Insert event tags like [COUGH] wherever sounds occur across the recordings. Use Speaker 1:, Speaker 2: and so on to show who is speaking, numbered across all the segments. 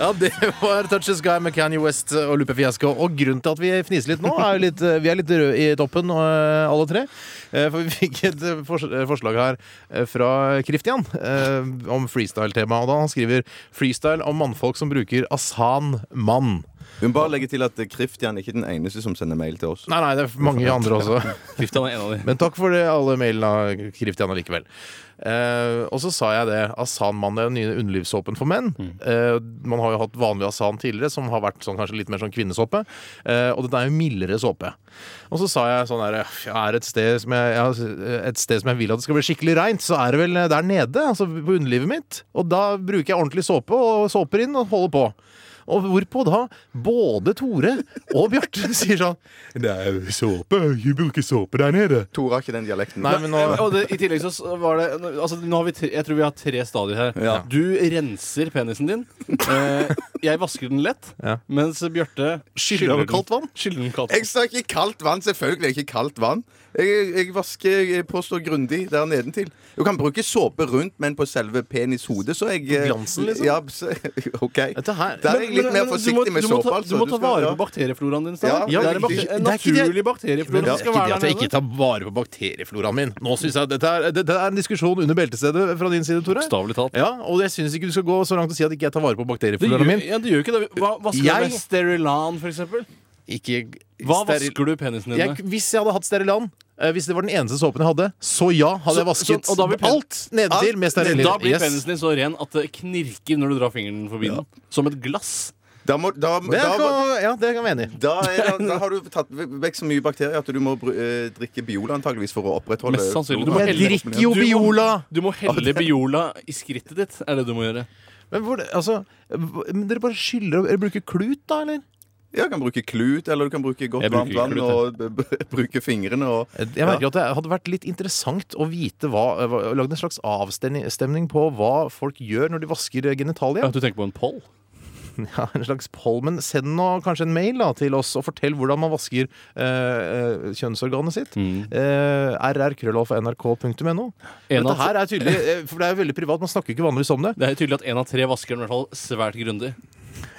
Speaker 1: Ja, det var Touch the Sky med Kanye West og Lupe Fiasco. Og grunnen til at vi fniser litt nå, er jo litt, vi er litt røde i toppen, eh, alle tre. Eh, For vi fikk et eh, fors- eh, forslag her eh, fra Christian eh, om freestyle-temaet. Og da han skriver 'freestyle om mannfolk som bruker asan mann'.
Speaker 2: Vi må bare legge til at Kristian er ikke den eneste som sender mail til oss.
Speaker 1: Nei, nei, det er mange andre også.
Speaker 3: [LAUGHS] Kristian er en av de.
Speaker 1: Men takk for det, alle mailene, Kristian, allikevel. Eh, og så sa jeg det. Asan-mann er den nye underlivssåpen for menn.
Speaker 3: Mm.
Speaker 1: Eh, man har jo hatt vanlig Asan tidligere, som har vært sånn, kanskje litt mer sånn kvinnesåpe. Eh, og dette er jo mildere såpe. Og så sa jeg sånn her Jeg er et sted som jeg, ja, et sted som jeg vil at det skal bli skikkelig reint, så er det vel der nede, altså på underlivet mitt. Og da bruker jeg ordentlig såpe, og såper inn og holder på. Og hvorpå da både Tore og Bjarte [LAUGHS] sier sånn Det er jo såpe, vi bruker såpe der nede.
Speaker 2: Tore har ikke den dialekten.
Speaker 1: Nei, men nå
Speaker 3: Eh, Og det, I tillegg så s- var det altså, nå har vi tre, Jeg tror vi har tre stadier her.
Speaker 2: Ja.
Speaker 3: Du renser penisen din. Eh, jeg vasker den lett.
Speaker 1: Ja.
Speaker 3: Mens Bjarte
Speaker 1: Skyller over kaldt vann?
Speaker 3: Skyller den kaldt. Eh,
Speaker 2: Jeg sa ikke kaldt vann. Selvfølgelig er ikke kaldt vann. Jeg, jeg vasker jeg påstår grundig der nedentil. Du kan bruke såpe rundt, men på selve penishodet, så jeg eh,
Speaker 1: Glansen, liksom?
Speaker 2: Ja, så, [LAUGHS] OK.
Speaker 1: Dette her
Speaker 2: Der er jeg litt mer
Speaker 3: du må-
Speaker 2: forsiktig med
Speaker 3: du må
Speaker 2: såpe,
Speaker 3: ta-
Speaker 2: altså.
Speaker 3: Du må ta
Speaker 2: skal-
Speaker 3: vare
Speaker 2: ja.
Speaker 3: på bakteriefloraen din.
Speaker 2: Ja,
Speaker 3: Ja,
Speaker 2: ja,
Speaker 3: det er en,
Speaker 2: det-
Speaker 3: bakter en
Speaker 1: det er ikke det-
Speaker 3: naturlig bakterieflora
Speaker 1: Men det
Speaker 3: som
Speaker 1: er
Speaker 3: skal
Speaker 1: ikke det at
Speaker 3: være
Speaker 1: jeg
Speaker 3: der
Speaker 1: ikke
Speaker 3: nede.
Speaker 1: tar vare på bakteriefloraen min. Nå synes jeg Dette er, dette er en diskusjon under beltestedet fra din side, Tore.
Speaker 3: Bokstavelig talt.
Speaker 1: Ja, Og jeg syns ikke du skal gå så langt og si at ikke jeg tar vare på
Speaker 3: Det gjør,
Speaker 1: bakteriefloraen min.
Speaker 3: ja, det gjør ikke det. Hva vasker
Speaker 1: Jeg-
Speaker 3: du med Sterilan, for eksempel?
Speaker 1: Ikke
Speaker 3: Hva
Speaker 1: steril-
Speaker 3: vasker du penisen din med?
Speaker 1: jeg, Hvis jeg hadde hatt Sterilan, eh, hvis det var den eneste såpen jeg hadde, så ja, hadde jeg
Speaker 3: Så-
Speaker 1: vasket
Speaker 3: så- og da blir pen-
Speaker 1: alt nedentil med Sterilin.
Speaker 3: Da blir
Speaker 1: Yes.
Speaker 3: penisen din så ren at det knirker når du drar fingeren forbi den. Som et glass.
Speaker 2: Da, må, da,
Speaker 1: Det
Speaker 2: da,
Speaker 1: kan, ja, det kan jeg være enig i.
Speaker 2: da, er, da, da har du tatt vekk så mye bakterier at du må bru- eh, drikke Biola antageligvis for å opprettholde
Speaker 3: Mest sannsynlig. Du må
Speaker 2: floraen.
Speaker 1: Jeg
Speaker 3: helle-
Speaker 1: drikker jo
Speaker 3: Du må-
Speaker 1: Biola!
Speaker 3: Du må helle Biola i skrittet ditt, er det du må gjøre.
Speaker 1: Men hvor, altså, hv- men dere bare skyller Dere bruker klut, da, eller?
Speaker 2: Ja, du kan bruke klut, eller du kan bruke godt
Speaker 3: Jeg bruker
Speaker 2: varmt vann
Speaker 3: klut,
Speaker 2: og b- b- [LAUGHS] bruke fingrene og
Speaker 1: Jeg merker at Det hadde vært litt interessant å vite hva, eh, hva- lagd en slags avstemning på hva folk gjør når de vasker eh, genitalia.
Speaker 3: du tenker på en poll?
Speaker 1: [LAUGHS] Ja, en slags poll, men Send nå kanskje en mail da, til oss og fortell hvordan man vasker eh, eh, kjønnsorganet sitt. Eh, rrkrøllalfa.nrk.no.
Speaker 3: En
Speaker 1: Dette
Speaker 3: av-
Speaker 1: her er tydelig, eh, for det er jo veldig privat. Man snakker ikke vanligvis om det.
Speaker 3: Det er jo tydelig at en av tre vasker den i hvert fall svært grundig.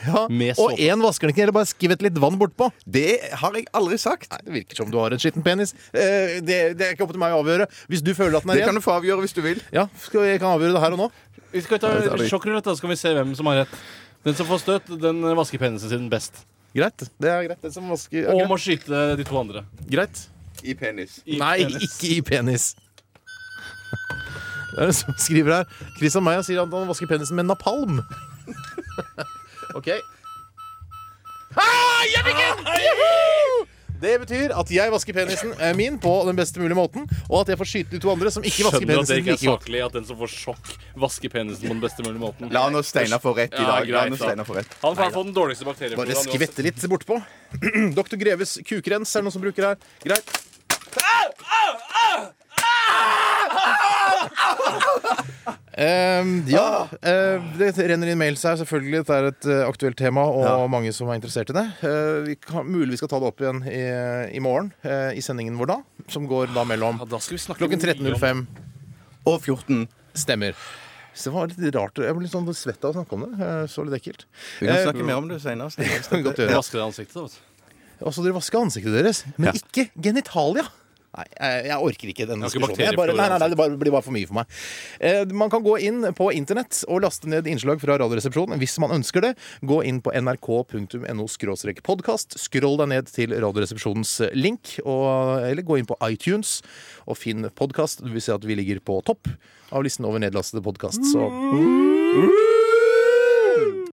Speaker 1: Ja, sånn.
Speaker 3: Med
Speaker 1: og
Speaker 3: såpe.
Speaker 1: én vasker den ikke, eller bare skvett litt vann bortpå.
Speaker 2: Det har jeg aldri sagt.
Speaker 1: Det virker som du har en skitten penis. Eh, det, det er ikke opp til meg å avgjøre. Hvis du føler at den er
Speaker 2: Det kan
Speaker 1: ren,
Speaker 2: du få avgjøre hvis du vil.
Speaker 1: ja, skal, jeg kan avgjøre det her og nå.
Speaker 3: Vi skal ta
Speaker 2: Ja, det er det.
Speaker 3: sjokkrulett, da, så kan vi se hvem som har rett. Den som får støt, den vasker penisen sin best.
Speaker 1: Greit. Det er greit. Det som vasker, ja,
Speaker 3: Og
Speaker 1: greit.
Speaker 3: må skyte de to andre.
Speaker 1: greit.
Speaker 2: I penis.
Speaker 3: I
Speaker 1: Nei,
Speaker 3: penis.
Speaker 1: ikke i penis. Det er det som skriver her. Christian Meyer sier at han vasker penisen med napalm. [LAUGHS] OK. Ah, jeg fikk en! Juhu! Det betyr at jeg vasker penisen eh, min på den beste mulige måten, og at jeg får skyte de to andre som ikke vasker
Speaker 3: Skjønner at det
Speaker 1: penisen
Speaker 3: ikke er
Speaker 1: like godt.
Speaker 3: saklig at den som får sjokk, vasker penisen på den beste mulige måten.
Speaker 2: La nå Steinar få rett i
Speaker 3: Ja,
Speaker 2: dag. La
Speaker 3: greit,
Speaker 2: nå
Speaker 3: da.
Speaker 2: Steinar få rett.
Speaker 3: Han kan få den dårligste bakterien.
Speaker 1: Bare skvette litt bortpå. [CLEARS THROAT] Dr. Greves kukrens er det noen som bruker her. Greit. Ehm, ja, eh, det renner inn mails her, selvfølgelig. Dette er et eh, aktuelt tema, og mange som er interessert i det. Eh, vi kan, mulig vi skal ta det opp igjen i, i morgen, eh, i sendingen vår da, som går da mellom
Speaker 3: Ja, da skal vi snakke
Speaker 1: klokken
Speaker 3: mye om-
Speaker 1: 13.05.
Speaker 2: Og 14.
Speaker 1: Stemmer. Så det var litt rart. Jeg ble litt sånn svett av å snakke om det. Eh, Så litt ekkelt.
Speaker 2: Vi
Speaker 1: Eh,
Speaker 2: kan snakke mer om det seinere.
Speaker 1: kan godt gjøre.
Speaker 3: Ja. Vaske det i ansiktet, altså. da. vet du.
Speaker 1: Og så dere vasker ansiktet deres, men
Speaker 3: Ja.
Speaker 1: ikke genitalia. Nei, jeg, jeg orker ikke den
Speaker 3: har ikke
Speaker 1: diskusjonen. Jeg
Speaker 3: bakterier
Speaker 1: bare,
Speaker 3: på
Speaker 1: nei, nei, nei, det bare, blir bare for mye for meg. Eh, man kan gå inn på internett og laste ned innslag fra Radioresepsjonen hvis man ønsker det. Gå inn på nrk.no podkast. Skroll deg ned til Radioresepsjonens link, og, eller gå inn på iTunes og finn podkast. Du vil se at vi ligger på topp av listen over nedlastede podkast. Så